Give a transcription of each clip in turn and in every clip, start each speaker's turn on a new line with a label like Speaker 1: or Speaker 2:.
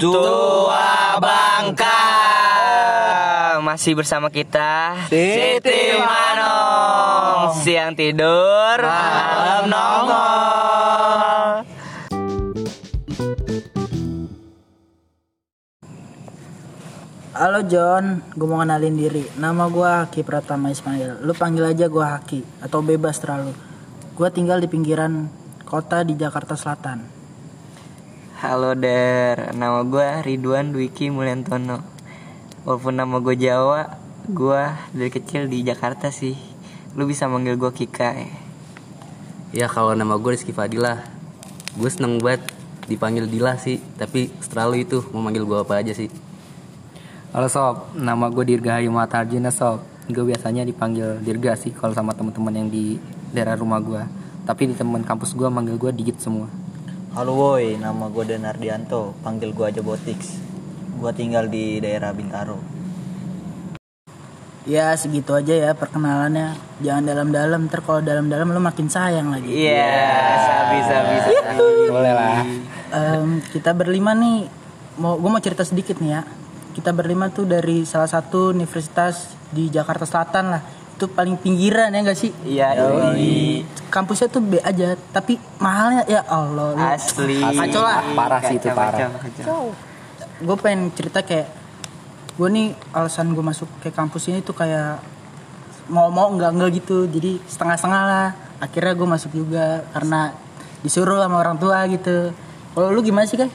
Speaker 1: Tua Bangka
Speaker 2: Masih bersama kita
Speaker 1: Siti Manong
Speaker 2: Siang tidur
Speaker 1: Malam nongol
Speaker 3: Halo John, gue mau kenalin diri. Nama gue Haki Pratama Ismail. Lu panggil aja gue Haki atau bebas terlalu. Gue tinggal di pinggiran kota di Jakarta Selatan.
Speaker 2: Halo Der Nama gue Ridwan Dwiki Mulyantono Walaupun nama gue Jawa Gue dari kecil di Jakarta sih Lu bisa manggil gue Kika ya
Speaker 1: Ya kalau nama gue Rizky Fadila Gue seneng banget dipanggil Dila sih Tapi selalu itu mau manggil gue apa aja sih
Speaker 4: Halo Sob, nama gue Dirga Hayu Matarjina Sob Gue biasanya dipanggil Dirga sih kalau sama teman-teman yang di daerah rumah gue Tapi di teman kampus gue manggil gue Digit semua
Speaker 5: Halo woi, nama gue Denardianto, panggil gue aja Botix. Gue tinggal di daerah Bintaro.
Speaker 3: Ya segitu aja ya perkenalannya. Jangan dalam-dalam, ntar kalau dalam-dalam lu makin sayang lagi.
Speaker 2: Iya Sabi sabi
Speaker 4: Iya.
Speaker 2: sabi
Speaker 4: Boleh lah
Speaker 3: Em, kita berlima nih, mau gue mau cerita sedikit nih ya. Kita berlima tuh dari salah satu universitas di Jakarta Selatan lah. Itu paling pinggiran ya gak sih?
Speaker 2: Iya ini
Speaker 3: Kampusnya tuh B aja, tapi mahalnya ya Allah. lu.
Speaker 2: Asli
Speaker 3: Kacau lah.
Speaker 4: Parah sih itu,
Speaker 2: Kacau,
Speaker 4: parah.
Speaker 2: kacau, kacau.
Speaker 3: gue pengen cerita kayak gue nih alasan gue masuk ke kampus ini tuh kayak mau mau enggak enggak gitu jadi setengah setengah lah akhirnya gue masuk juga karena disuruh sama orang tua gitu kalau lu gimana sih kan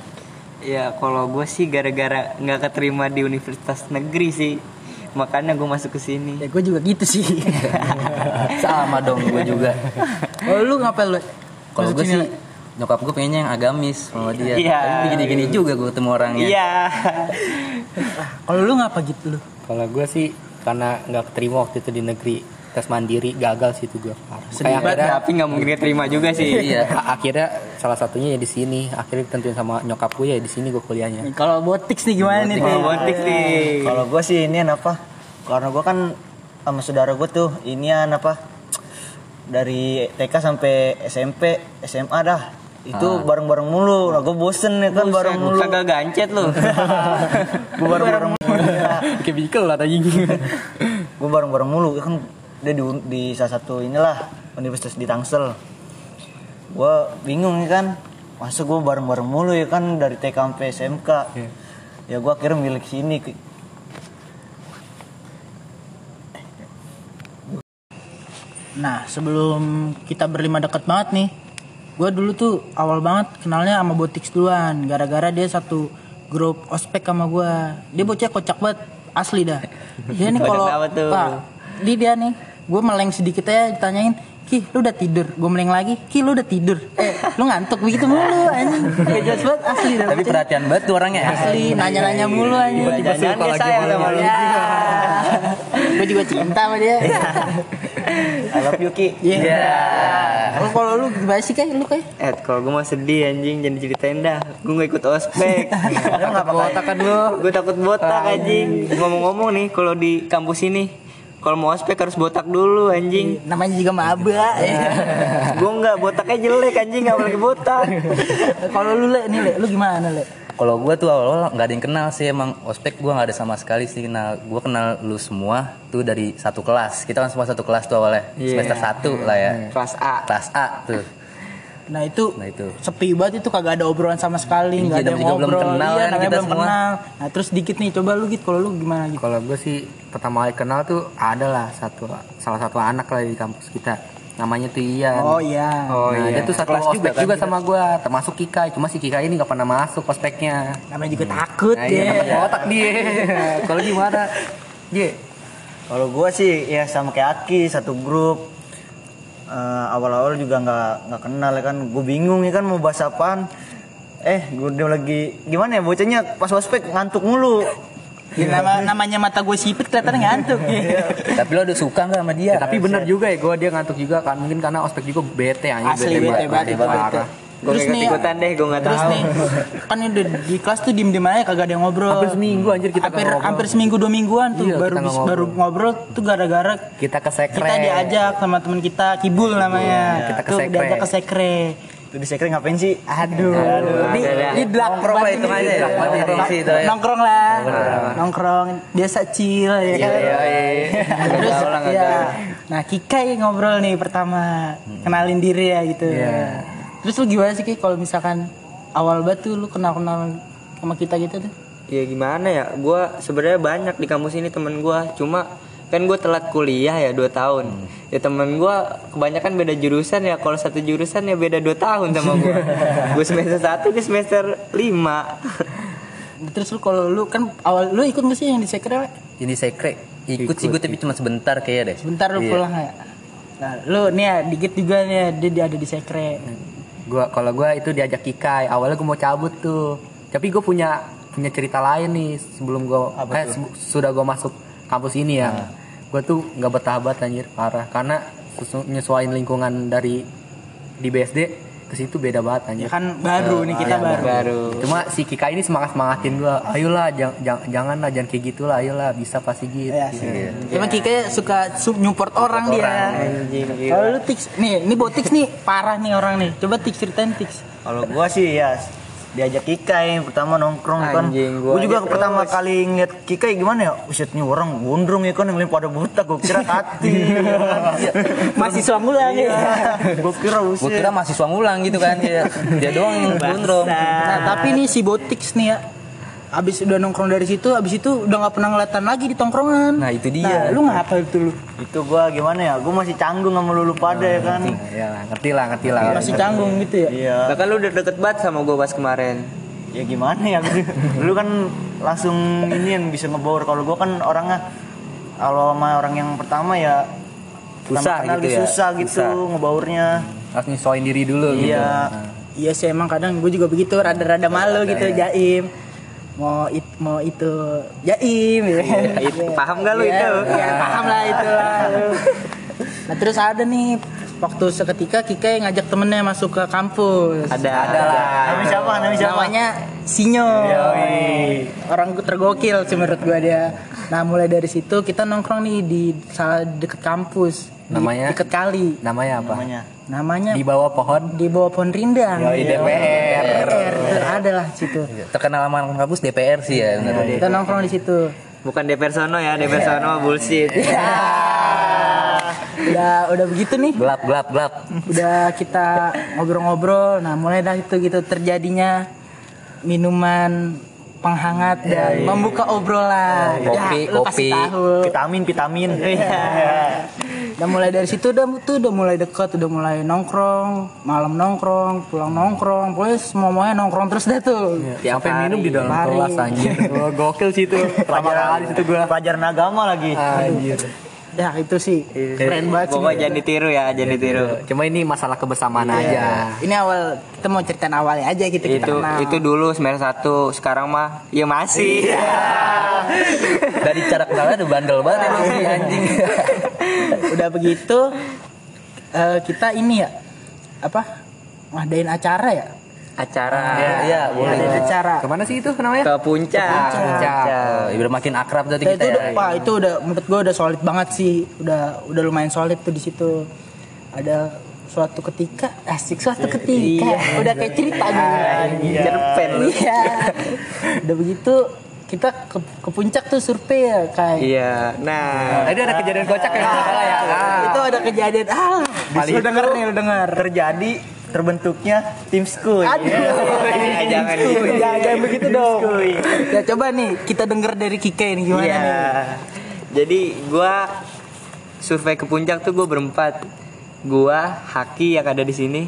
Speaker 2: Ya kalau gue sih gara-gara nggak keterima di universitas negeri sih makanya gue masuk ke sini.
Speaker 3: ya
Speaker 4: Iya.
Speaker 3: gue juga gitu sih
Speaker 1: Sama dong gue juga
Speaker 3: kalau lu ngapain lu
Speaker 1: Kalau
Speaker 3: Masuk
Speaker 1: gue
Speaker 3: sini,
Speaker 1: sih nyokap gue pengennya yang agamis sama dia
Speaker 2: Iya.
Speaker 1: Tapi gini-gini juga gue ketemu orangnya
Speaker 2: Iya.
Speaker 3: kalau lu ngapa gitu lu
Speaker 4: Kalau gue sih karena nggak keterima waktu itu di negeri Tes mandiri gagal sih itu gue parah
Speaker 3: Sedih
Speaker 4: Kayak
Speaker 3: banget
Speaker 4: akhirnya,
Speaker 2: Tapi nggak mungkin keterima juga sih.
Speaker 1: Iya.
Speaker 4: a- Nah, akhirnya salah satunya ya di sini Akhirnya ditentuin sama nyokap gue ya di sini gue kuliahnya
Speaker 3: Nih, kalau botiks nih gimana nih
Speaker 2: Kalau
Speaker 3: Teh?
Speaker 2: botik nih.
Speaker 5: Kalau gue sih ini apa? Karena gue kan sama saudara gue tuh ini apa? Dari TK sampai SMP, SMA dah.
Speaker 4: Ah.
Speaker 5: Itu bareng-bareng mulu. Nah, gue bosen ya kan bareng mulu.
Speaker 2: Kagak gancet lu.
Speaker 5: Gue bareng-bareng mulu. Iya.
Speaker 4: Kayak bikel lah tadi
Speaker 5: gue bareng-bareng mulu Ya kan dia di, di salah satu inilah universitas di Tangsel gue bingung ya kan masa gue bareng-bareng mulu ya kan dari TK sampai SMK ya gue akhirnya milik sini Ki.
Speaker 3: Nah, sebelum kita berlima deket banget nih, gue dulu tuh awal banget kenalnya sama Botix duluan, gara-gara dia satu grup ospek sama gue. Dia bocah kocak banget, asli dah. Dia nih kalau
Speaker 2: Kocak banget tuh.
Speaker 3: Pak, di dia nih, gue meleng sedikit aja ditanyain, Ki, lu udah tidur? Gue meleng lagi, Ki, lu udah tidur? Eh, lu ngantuk begitu mulu, anjing. Gak jelas banget, asli dah.
Speaker 1: Tapi
Speaker 3: bocah.
Speaker 1: perhatian banget tuh orangnya
Speaker 3: asli, nanya-nanya mulu anjing.
Speaker 2: Tiba-tiba suka lagi sama lu.
Speaker 3: gue juga cinta sama dia.
Speaker 2: Iya. I love you Ki.
Speaker 3: Iya. Lu Kalau lu gimana sih kayak lu kayak?
Speaker 2: Eh, kalau gue mah sedih anjing, jangan diceritain dah. Gue gak ikut ospek. botak kan lu? Gue takut botak anjing. Ngomong-ngomong nih, kalau di kampus ini, kalau mau ospek harus botak dulu anjing.
Speaker 3: namanya juga maba ya.
Speaker 2: gue nggak botaknya jelek anjing nggak lagi botak
Speaker 3: kalau lu le nih le lu gimana le
Speaker 1: Kalau gue tuh awal-awal nggak ada yang kenal sih emang ospek gue nggak ada sama sekali sih kenal. Gue kenal lu semua tuh dari satu kelas. Kita kan semua satu kelas tuh awalnya
Speaker 4: Iya.
Speaker 1: semester satu lah ya.
Speaker 2: kelas A
Speaker 1: Kelas A tuh.
Speaker 3: nah itu,
Speaker 1: Nah, itu.
Speaker 3: sepi banget itu kagak ada obrolan sama sekali nggak
Speaker 1: Iya,
Speaker 3: ada yang
Speaker 1: juga
Speaker 3: ngobrol
Speaker 1: belum kenal
Speaker 3: iya
Speaker 1: kan
Speaker 3: namanya
Speaker 1: kita
Speaker 3: belum
Speaker 1: semua.
Speaker 3: kenal nah terus dikit nih coba lu gitu kalau lu gimana gitu
Speaker 4: Kalau gue sih pertama kali kenal tuh ada lah satu salah satu anak lah di kampus kita. Namanya tuh Ian.
Speaker 3: oh iya
Speaker 4: Oh, iya. dia tuh satu
Speaker 1: Kelas juga
Speaker 4: ospek juga,
Speaker 1: kan
Speaker 4: sama gue, termasuk Kika. Cuma si Kika ini gak pernah masuk ospeknya.
Speaker 3: namanya juga takut
Speaker 4: Nah,
Speaker 3: ya
Speaker 4: iya, namanya otak dia. Kalau gimana? Dia
Speaker 5: kalau gue sih ya sama kayak Aki satu grup Eh, awal-awal juga nggak nggak kenal ya kan gue bingung ya kan mau bahas apaan eh gue udah lagi gimana ya bocahnya pas ospek ngantuk mulu
Speaker 3: Ya, nama- namanya mata gue sipit kelihatannya ngantuk ya.
Speaker 1: Tapi lo udah suka nggak sama dia?
Speaker 4: Ya, tapi bener juga ya gue dia ngantuk juga kan mungkin karena ospek juga bete aja
Speaker 3: asli bete banget itu, bete.
Speaker 4: parah.
Speaker 2: gue nggak ikutan deh gue nggak
Speaker 3: terus
Speaker 2: tahu
Speaker 3: nih kan udah di kelas tuh diem diem aja kagak ada yang ngobrol
Speaker 4: Hampir seminggu anjir kita
Speaker 3: hampir
Speaker 4: nggak ngobrol.
Speaker 3: hampir seminggu dua mingguan tuh
Speaker 4: Iya,
Speaker 3: baru
Speaker 4: kita nggak
Speaker 3: bis- baru ngobrol tuh gara-gara
Speaker 4: Kita ke sekre.
Speaker 3: kita diajak sama teman kita kibul namanya
Speaker 4: kita ke
Speaker 3: tuh
Speaker 4: sekre.
Speaker 3: diajak ke sekre
Speaker 5: Tuh di sekre ngapain sih?
Speaker 3: Aduh, di,
Speaker 2: ada.
Speaker 3: di belak
Speaker 1: Nongkrong lah itu aja ya, buat diri sih itu ya.
Speaker 3: Nongkrong lah, nongkrong biasa chill ya kan. Terus ya, nah Kikai ngobrol nih pertama kenalin diri ya gitu. Terus lu gimana sih Ki kalau misalkan awal batu lu kenal kenal sama kita gitu tuh?
Speaker 2: ya gimana ya gue sebenarnya banyak di kampus ini temen gue cuma kan gue telat kuliah ya 2 tahun
Speaker 3: Hmm.
Speaker 2: ya temen gue kebanyakan beda jurusan ya kalau satu jurusan ya beda 2 tahun sama gue gue semester 1 ke semester 5
Speaker 3: Terus lu kalau lu kan awal lu ikut nggak sih yang di sekre? Wak?
Speaker 1: Jadi sekre ikut, sih gue tapi cuma sebentar kayaknya deh.
Speaker 3: Bentar lu
Speaker 1: Iya.
Speaker 3: pulang ya. Nah, lu nih ya dikit juga nih ya, dia, dia ada di sekre.
Speaker 4: gua kalau gua itu diajak Kikai awalnya gua mau cabut tuh tapi gua punya punya cerita lain nih sebelum gua eh, se- sudah gua masuk kampus ini ya
Speaker 3: Nah.
Speaker 4: gua tuh nggak bertahan banget anjir parah karena sesu- nyesuaiin lingkungan dari di BSD ke situ beda banget anjir
Speaker 3: Ya kan
Speaker 1: Oh,
Speaker 3: baru nih
Speaker 1: iya,
Speaker 3: kita baru.
Speaker 2: baru
Speaker 4: cuma si Kikai ini semangat semangatin gua ayolah jang, jang- janganlah jangan kayak gitulah ayolah bisa pasti gitu
Speaker 1: Iya.
Speaker 3: Ya, sih. Cuma Kike suka su- nyupport orang dia.
Speaker 2: anjing gila.
Speaker 3: Kalau lu tiks nih, ini botiks nih parah nih orang nih. Coba tiks ceritain tiks.
Speaker 5: Kalau gua sih ya diajak Kikai pertama nongkrong kan.
Speaker 2: Anjing,
Speaker 5: Gua,
Speaker 2: gua
Speaker 5: juga
Speaker 2: aja
Speaker 5: pertama
Speaker 2: terus.
Speaker 5: kali ngeliat Kikai gimana ya? Uset nih orang gondrong ya kan yang lain pada buta gua kira kati.
Speaker 3: Masih suamulan nih.
Speaker 1: Iya.
Speaker 5: gua kira
Speaker 1: Gue
Speaker 5: uset.
Speaker 1: kira mahasiswa ngulang gitu kan dia, dia doang yang gondrong.
Speaker 3: Nah, tapi nih si botiks nih ya. Abis udah nongkrong dari situ, abis itu udah nggak pernah ngeliatan lagi di tongkrongan.
Speaker 1: Nah, itu dia.
Speaker 3: Nah, lu ngapa itu lu?
Speaker 5: Itu gua gimana ya? Gua masih canggung sama lulu pada ya kan.
Speaker 4: ya lah ngerti lah ngerti lah
Speaker 1: Iya.
Speaker 3: Masih canggung gitu ya.
Speaker 5: Iya.
Speaker 2: bahkan kan lu udah deket banget sama gue pas kemarin
Speaker 5: Ya gimana ya? Lu kan langsung ini yang bisa ngebaur. Kalau gua kan orangnya kalau sama orang yang pertama ya pertama
Speaker 1: Susah
Speaker 5: kenal
Speaker 1: gitu
Speaker 5: dia
Speaker 1: ya,
Speaker 5: Susah gitu
Speaker 1: susah.
Speaker 5: ngebaurnya.
Speaker 1: Harus nyesuaiin diri dulu gitu.
Speaker 5: Iya.
Speaker 4: Nah,
Speaker 3: Iya sih emang kadang gue juga begitu rada-rada malu gitu jaim mau it, mau itu jaim ya.
Speaker 2: itu paham gak lu
Speaker 3: Iya,
Speaker 2: itu
Speaker 3: iya, paham lah itu lah. Nah terus ada nih waktu seketika Kike ngajak temennya masuk ke kampus.
Speaker 2: ada ada
Speaker 3: Nah,
Speaker 5: Namanya siapa? Namanya siapa?
Speaker 3: Namanya Sinyo. Orang tergokil sih menurut gue dia. Nah mulai dari situ kita nongkrong nih di salah deket kampus. Di-
Speaker 4: Namanya?
Speaker 3: deket kali.
Speaker 4: namanya apa
Speaker 5: namanya.
Speaker 3: Namanya
Speaker 4: di bawah pohon
Speaker 3: di bawah pohon rindang. Iya.
Speaker 1: Yoi, DPR.
Speaker 3: DPR ada lah situ.
Speaker 1: Iya. Terkenal sama orang kampus DPR sih ya
Speaker 4: Iya,
Speaker 1: benar.
Speaker 3: Kita nongkrong di situ.
Speaker 2: bukan depersono ya
Speaker 3: Iya.
Speaker 2: depersono bullshit
Speaker 3: Udah udah begitu nih.
Speaker 1: Gelap gelap gelap.
Speaker 3: Udah kita ngobrol-ngobrol. Nah, mulai dah itu gitu terjadinya minuman penghangat dan membuka obrolan. Ya,
Speaker 1: Kopi,
Speaker 3: lu pasti
Speaker 1: kopi.
Speaker 3: tahu.
Speaker 5: Vitamin, vitamin. Iya.
Speaker 3: Dan mulai dari situ udah tuh udah mulai dekat, udah mulai nongkrong, malam nongkrong, pulang nongkrong, pokoknya semuanya nongkrong terus dah tuh.
Speaker 1: Iya,
Speaker 4: Tiap sampai minum di dalam
Speaker 3: Mari.
Speaker 4: kelas anjir Gua gokil sih itu pertama kali situ gua
Speaker 5: Pelajaran agama lagi.
Speaker 4: anjir
Speaker 3: Ya itu sih keren banget sih.
Speaker 2: pokoknya jangan ditiru ya jangan ditiru
Speaker 4: Cuma ini masalah kebersamaan
Speaker 1: Iya.
Speaker 4: aja.
Speaker 3: Ini awal kita mau ceritain awalnya aja gitu kita
Speaker 2: itu
Speaker 3: kenal.
Speaker 2: itu dulu semester 1 sekarang mah ya masih
Speaker 4: Iya.
Speaker 1: Dari cara kenalnya udah bandel banget emang sih anjing.
Speaker 3: udah begitu eh, kita ini ya apa ngadain acara ya
Speaker 2: acara
Speaker 1: Iya, Iya boleh.
Speaker 3: ngadain acara
Speaker 4: Kemana sih itu namanya?
Speaker 2: ke puncak
Speaker 1: Cak, cak. Oh, Biar makin akrab berarti
Speaker 4: Nah,
Speaker 3: Ya,
Speaker 1: kita
Speaker 3: itu
Speaker 1: ya.
Speaker 3: udah, wah, itu udah menurut gue udah solid banget sih udah udah lumayan solid tuh di situ ada suatu ketika asik suatu ketika udah kayak cerita gitu
Speaker 2: cerpen lu.
Speaker 3: iya udah begitu kita ke, ke puncak tuh survei ya kayak
Speaker 2: iya nah
Speaker 4: Tadi ada kejadian kocak yang nggak salah ya. Ah.
Speaker 3: itu ada kejadian ah
Speaker 5: Paling
Speaker 3: lu denger nih lu denger
Speaker 5: Terjadi terbentuknya tim school.
Speaker 3: Aduh,
Speaker 4: Iya,
Speaker 2: Eh, jangan gitu.
Speaker 3: jangan, jangan begitu dong. Ya coba nih kita denger dari Kike nih gimana
Speaker 2: Iya.
Speaker 3: nih.
Speaker 2: Jadi gua survei ke puncak tuh gue berempat. Gua, Haki yang ada di sini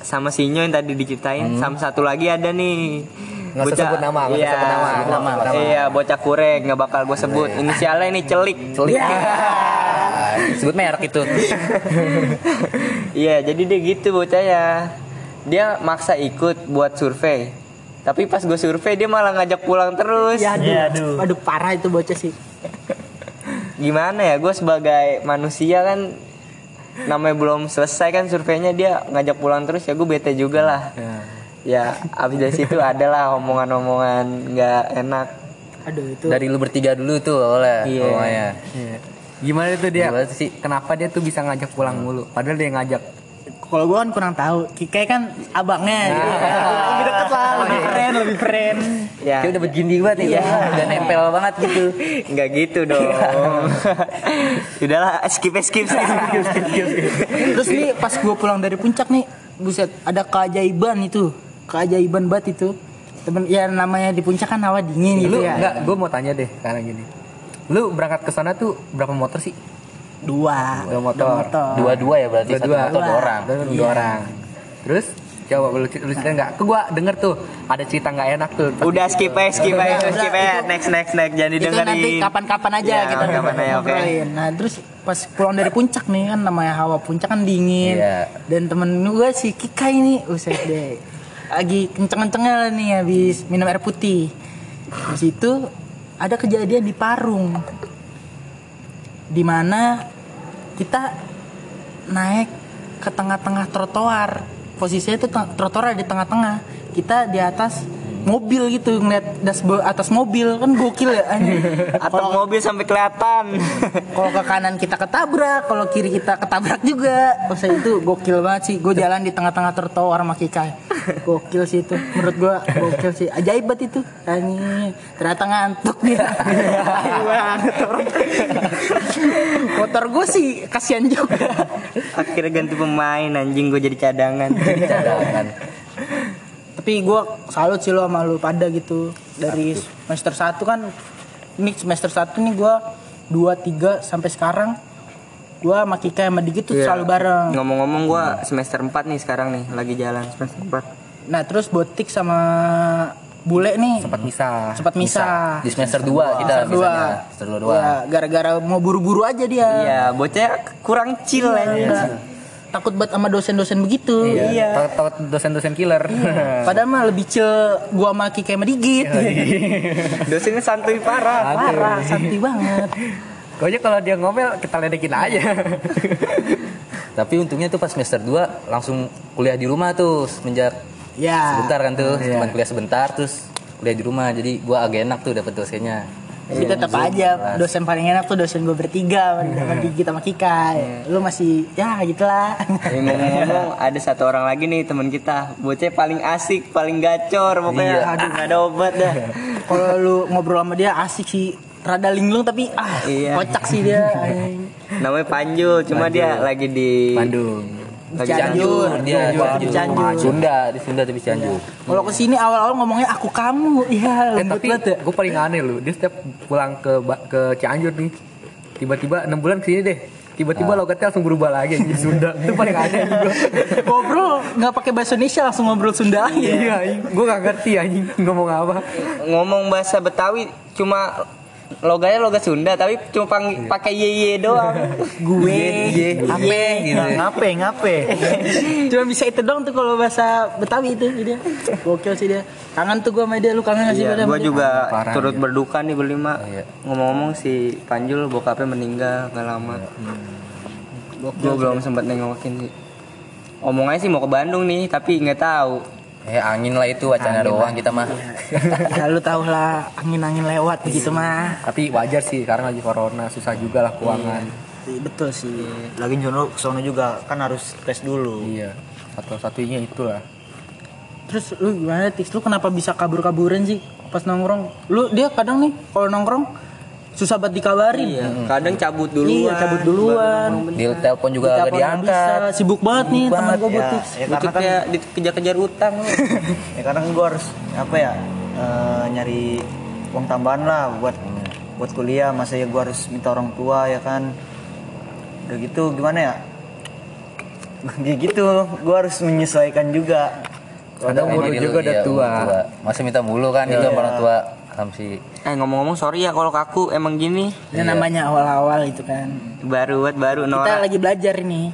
Speaker 2: sama Sinyo yang tadi diceritain sama satu lagi ada nih.
Speaker 4: Hmm. Nggak usah sebut nama, nggak usah
Speaker 2: iya,
Speaker 4: sebut nama, sebut nama, sebut nama. Iya.
Speaker 2: Iya, bocah kurek nggak bakal gue sebut. Inisialnya ini celik.
Speaker 1: Celik. Sebut merek itu.
Speaker 2: Iya, jadi dia gitu bocahnya. Dia maksa ikut buat survei. Tapi pas gue survei dia malah ngajak pulang terus.
Speaker 3: Ya aduh,
Speaker 5: Iya, aduh.
Speaker 3: aduh parah itu bocah sih.
Speaker 2: gimana ya gue sebagai manusia kan namanya belum selesai kan surveinya dia ngajak pulang terus ya gue bete juga lah ya abis dari situ adalah omongan-omongan nggak enak
Speaker 3: Aduh itu.
Speaker 1: Dari lu bertiga dulu tuh oleh
Speaker 2: Iya.
Speaker 1: rumahnya.
Speaker 4: Iya. Gimana itu dia?
Speaker 1: Gimana sih?
Speaker 4: Kenapa dia tuh bisa ngajak pulang mulu? Padahal dia ngajak.
Speaker 3: kalau gue kan kurang tahu Kikai kan abangnya gitu. lebih deket lah lebih keren lebih keren
Speaker 2: Ya.
Speaker 1: Dia udah berjindi banget
Speaker 4: Iya.
Speaker 1: nih, udah nempel banget gitu.
Speaker 2: Enggak gitu dong. Udahlah, skip skip skip.
Speaker 3: terus nih pas gue pulang dari puncak nih buset ada keajaiban itu keajaiban banget itu temen ya namanya di puncak kan hawa dingin gitu
Speaker 4: lu
Speaker 1: Iya.
Speaker 3: ya
Speaker 4: enggak gue mau tanya deh karena gini lu berangkat ke sana tuh berapa motor sih
Speaker 3: dua
Speaker 4: dua motor
Speaker 1: Dua-dua ya berarti satu
Speaker 4: Dua-dua.
Speaker 1: motor dua orang. Iya.
Speaker 4: Dua, dua orang terus coba lu, cer- lu cerita nggak ke gua denger tuh ada cerita nggak enak tuh pas
Speaker 2: Udah
Speaker 4: di-
Speaker 2: skip aja, skip aja,
Speaker 3: Udah,
Speaker 2: skip
Speaker 3: udah,
Speaker 2: aja.
Speaker 3: itu-
Speaker 2: Next next next jangan
Speaker 3: itu
Speaker 2: didengerin.
Speaker 3: nanti kapan-kapan aja
Speaker 2: Ya,
Speaker 3: kita
Speaker 2: kapan-kapan aja, oke.
Speaker 3: ngobrolin. Nah terus pas pulang dari puncak nih kan namanya hawa puncak kan dingin.
Speaker 1: Iya.
Speaker 3: Dan temen gue si Kika ini uset deh. Lagi kenceng-kencengnya nih habis minum air putih. Di situ ada kejadian di Parung. Dimana kita naik ke tengah-tengah trotoar. Posisinya itu teng- trotoar ada di tengah-tengah. Kita di atas mobil gitu ngeliat dashboard atas mobil kan gokil ya anjing.
Speaker 2: Atau mobil sampai kelihatan.
Speaker 3: kalau ke kanan kita ketabrak kalau kiri kita ketabrak juga maksudnya itu gokil banget sih gue jalan di tengah-tengah trotoar sama Kikai gokil sih itu menurut gue gokil sih ajaib banget itu anjing ternyata ngantuk dia Tai banget orang. motor gue sih kasihan juga
Speaker 2: Akhirnya ganti pemain anjing gue jadi cadangan.
Speaker 4: kan?
Speaker 1: Cadangan.
Speaker 3: tapi gue salut sih lo sama lu pada gitu dari semester 1 kan ini semester 1 nih gue 2, 3 sampai sekarang gue sama Kikai sama Digi
Speaker 2: Iya.
Speaker 3: tuh selalu bareng
Speaker 2: Ngomong-ngomong gue semester 4 nih sekarang nih lagi jalan semester 4
Speaker 3: Nah terus botik sama bule nih
Speaker 4: sempat misah
Speaker 3: sempat misah.
Speaker 1: Di Hmm. semester Iya. 2 kita
Speaker 3: Semester dua.
Speaker 1: misalnya. Semester 2 doang.
Speaker 3: Ya, gara-gara mau buru-buru aja dia.
Speaker 2: Iya, bocah kurang chill ya. anjing.
Speaker 3: Enggak. Takut banget sama dosen-dosen begitu.
Speaker 4: iya tau dosen-dosen killer
Speaker 1: Iya.
Speaker 3: Padahal mah lebih ce gua sama Kiki sama Digit.
Speaker 2: Dosennya santuy parah.
Speaker 3: Parah, santai banget.
Speaker 4: Gua aja kalau dia ngomel kita ledekin aja
Speaker 1: Tapi untungnya tuh pas semester 2 langsung kuliah di rumah tuh semenjak
Speaker 3: Ya.
Speaker 1: sebentar kan tuh, cuman kuliah sebentar terus kuliah di rumah. Jadi gua agak enak tuh dapet dosennya.
Speaker 3: Tapi tetap aja dosen paling enak tuh dosen gue bertiga sama Digit sama Kika. Lu masih ya gitulah.
Speaker 2: Eh, Ngomong-ngomong ada satu orang lagi nih teman kita Bocah paling asik, paling gacor Pokoknya aduh gak ada obat dah
Speaker 3: Kalau lu ngobrol sama dia asik sih. Rada linglung tapi ah
Speaker 2: Iya.
Speaker 3: kocak sih dia. Anjing.
Speaker 2: Namanya Panjul, cuma dia lagi di
Speaker 4: Bandung
Speaker 2: lagi
Speaker 1: Cianjur, dia
Speaker 3: Cianjur. Cianjur.
Speaker 1: Sunda, di Sunda tapi Cianjur.
Speaker 3: Kalau kesini awal-awal ngomongnya aku kamu, iya
Speaker 4: Eh,
Speaker 3: lembut
Speaker 4: tapi
Speaker 3: banget ya.
Speaker 4: gue paling aneh lu dia setiap pulang ke Ba- ke Cianjur nih tiba-tiba enam bulan kesini deh tiba-tiba logatnya langsung berubah lagi jadi Sunda itu paling aneh gue
Speaker 3: Ngobrol nggak pakai bahasa Indonesia langsung ngobrol Sunda aja.
Speaker 4: iya gue gak ngerti anjing ngomong apa
Speaker 2: Ngomong bahasa Betawi cuma logatnya logat Sunda tapi cuma pang- pakai yeye doang.
Speaker 3: Gue,
Speaker 1: Ye, ape gitu.
Speaker 5: ngape ngape
Speaker 3: cuma bisa itu dong tuh kalau bahasa Betawi itu dia. Gokil sih dia. Kangen tuh gua sama dia, lu kangen nggak sih
Speaker 2: Iya,
Speaker 3: pada
Speaker 2: gua
Speaker 3: sama dia?
Speaker 2: juga
Speaker 4: Parah,
Speaker 2: turut berduka nih berlima.
Speaker 1: Iya.
Speaker 2: Ngomong-ngomong si Panjul bokapnya meninggal gak lama. Gue belum sempat nengokin sih. Omongannya sih mau ke Bandung nih, tapi nggak tahu.
Speaker 1: Eh angin lah Iya. itu wacana doang kita mah.
Speaker 3: Ya lu tau lah angin-angin lewat begitu mah.
Speaker 4: tapi wajar sih karena lagi corona susah juga lah keuangan
Speaker 3: Betul sih.
Speaker 5: lagi Jono kesana juga kan harus tes dulu
Speaker 4: iya satu-satunya itulah
Speaker 3: Terus lu gimana Tix? Lu kenapa bisa kabur-kaburan sih pas nongkrong? Lu dia kadang nih kalau nongkrong susah banget dikabarin.
Speaker 2: Iya, kadang cabut duluan.
Speaker 3: Iya, cabut duluan.
Speaker 1: Di telepon juga
Speaker 3: Ditelepon nggak
Speaker 1: agak diangkat.
Speaker 3: bisa. Sibuk banget nih
Speaker 1: Sibuk
Speaker 3: teman
Speaker 1: banget,
Speaker 3: gue
Speaker 5: ya,
Speaker 3: butik.
Speaker 5: ya
Speaker 2: Lu
Speaker 5: karena
Speaker 2: tuh
Speaker 5: kan
Speaker 2: kayak dikejar-kejar utang. lu.
Speaker 5: ya karena gue harus apa ya eh, nyari uang tambahan lah buat buat kuliah masa ya gue harus minta orang tua ya kan udah gitu gimana ya ya gitu gue harus menyesuaikan juga
Speaker 4: ada umur
Speaker 1: Jadi,
Speaker 4: juga udah
Speaker 1: iya,
Speaker 4: tua Iya.
Speaker 1: umur Masih minta mulu kan itu sama orang tua. Hamsi.
Speaker 2: eh ngomong-ngomong sorry ya kalau kaku emang gini
Speaker 3: Ya namanya awal-awal itu kan.
Speaker 2: baru buat baru
Speaker 3: Kita
Speaker 2: Nora.
Speaker 3: lagi belajar ini.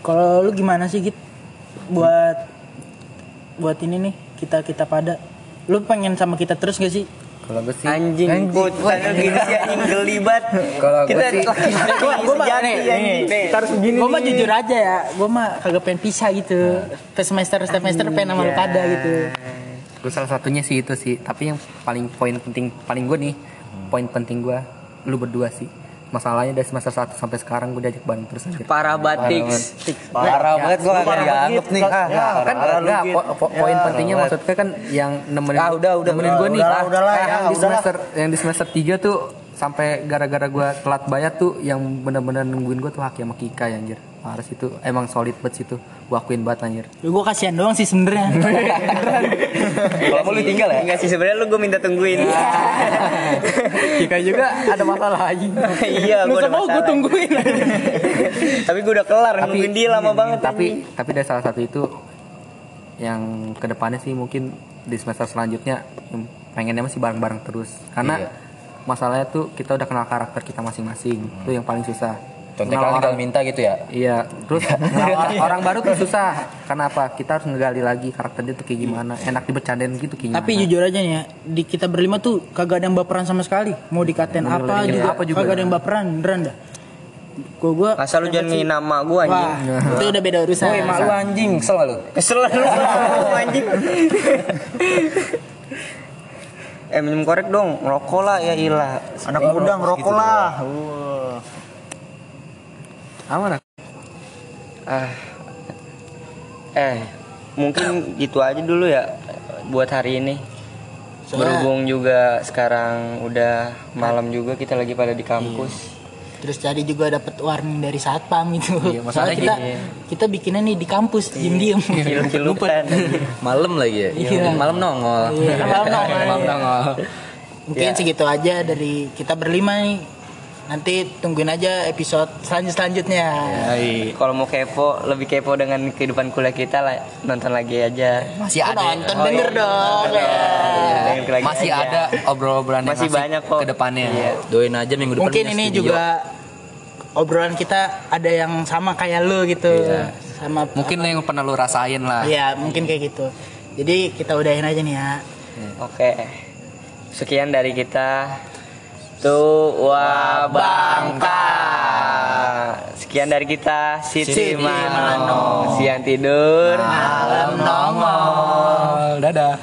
Speaker 3: Kalau lu gimana sih Git? Buat buat ini nih kita kita pada. Lu pengen sama kita terus gak sih?
Speaker 4: kalau gue sih
Speaker 2: Anjing, gua tanya gini sih anjing geli banget.
Speaker 4: Kalau
Speaker 2: kita
Speaker 4: gua sih-
Speaker 2: laki sejati
Speaker 3: Gua mah- nih,
Speaker 2: anjing.
Speaker 3: nih.
Speaker 2: Kita harus begini.
Speaker 3: Gue mah jujur aja ya, gue mah kagak pengen pisah gitu. Ke semester setiap semester
Speaker 2: Iya.
Speaker 3: pengen sama lu pada gitu.
Speaker 4: gue salah satunya sih itu sih tapi yang paling poin penting paling gue nih poin penting gue lu berdua sih masalahnya dari semester 1 sampai sekarang gue diajak bareng terus anjir.
Speaker 2: Parah batiks.
Speaker 1: Parah banget gue gak dianggap nih. Ah,
Speaker 5: Ya,
Speaker 1: parah.
Speaker 4: kan enggak po- po- poin pentingnya maksudnya kan yang nemenin
Speaker 2: Ah, udah, udah,
Speaker 4: nemenin
Speaker 5: udah,
Speaker 4: gue nih
Speaker 5: udah lah,
Speaker 4: Ah,
Speaker 5: udah lah,
Speaker 4: ah,
Speaker 5: ya,
Speaker 4: yang
Speaker 5: udah
Speaker 4: di
Speaker 5: lah.
Speaker 4: semester yang di semester 3 tuh sampai gara-gara gue telat bayar tuh yang bener-bener nungguin gue tuh Haki sama Kika ya, anjir harus itu emang solid banget situ gue akuin banget anjir
Speaker 3: gue kasihan doang sih sebenarnya
Speaker 1: Kalau mau lu tinggal ya.
Speaker 2: Enggak sih sebenarnya lu gue minta tungguin.
Speaker 4: Kika juga ada masalah lagi
Speaker 2: Iya,
Speaker 3: lu
Speaker 2: gue ada
Speaker 3: sama gue
Speaker 2: masalah.
Speaker 3: tungguin
Speaker 2: Tapi gue udah kelar nungguin dia lama banget.
Speaker 4: tapi tapi dari salah satu itu yang kedepannya sih mungkin di semester selanjutnya em, pengennya masih bareng-bareng terus karena
Speaker 1: Iya.
Speaker 4: masalahnya tuh kita udah kenal karakter kita masing-masing itu yang paling susah
Speaker 1: Contekan
Speaker 4: Kenal
Speaker 1: tinggal
Speaker 4: orang-
Speaker 1: minta gitu ya.
Speaker 4: Iya, terus kenal orang, orang baru tuh susah. Kenapa? Kita harus ngegali lagi karakter dia tuh kayak gimana. Enak dibercandain gitu kayak gimana.
Speaker 1: Nah,
Speaker 3: tapi jujur aja nih ya di kita berlima tuh kagak ada yang baperan sama sekali mau dikatain apa
Speaker 4: lagi.
Speaker 3: juga,
Speaker 4: Apa juga.
Speaker 3: kagak ada yang baperan beneran dah gue gue
Speaker 2: Asal lu jangan ngin nama gue anjing.
Speaker 3: wah itu udah beda urusan
Speaker 1: Woi, malu anjing, kesel gak lu?
Speaker 2: Kesel lah lu ngomong, anjing. eh minum korek dong, rokok lah ya ilah.
Speaker 5: Anak muda ngerokok lah.
Speaker 4: Aman ah.
Speaker 2: Ah. Eh, mungkin gitu aja dulu ya buat hari ini. Berhubung juga sekarang udah malam juga kita lagi pada di kampus.
Speaker 3: terus jadi juga dapat warning dari satpam gitu soalnya
Speaker 1: masalahnya
Speaker 3: kita
Speaker 1: Iya, gini. Iya.
Speaker 3: kita bikinnya nih di kampus diem diem
Speaker 4: Iya.
Speaker 2: Kilu-kilutan.
Speaker 1: Malam lagi ya.
Speaker 3: Iya.
Speaker 1: Malam nongol. Iya.
Speaker 3: Iya, malam nongol.
Speaker 1: Malam nongol.
Speaker 3: mungkin segitu aja dari kita berlima nih nanti tungguin aja episode selanjut selanjutnya
Speaker 1: Iya.
Speaker 4: Iya.
Speaker 2: Kalau mau kepo, lebih kepo dengan kehidupan kuliah kita lah, nonton lagi aja.
Speaker 1: Masih ada. Oh, iya.
Speaker 3: nonton denger dong
Speaker 2: Dengerin lagi
Speaker 4: Iya. Masih
Speaker 2: aja.
Speaker 4: ada obrolan-obrolan yang
Speaker 2: Masih banyak kok.
Speaker 4: ke depannya.
Speaker 1: Doain aja minggu depan.
Speaker 3: mungkin
Speaker 1: punya
Speaker 3: ini
Speaker 1: studio.
Speaker 3: juga obrolan kita ada yang sama kayak lo gitu sama
Speaker 4: Iya. Mungkin lo yang pernah lo rasain lah.
Speaker 3: ya mungkin kayak gitu jadi kita udahin aja nih ya
Speaker 2: Oke. Sekian dari kita. Tua Bangka. Sekian dari kita Siti, Mano. Siang tidur.
Speaker 3: malam nongol
Speaker 4: Dadah.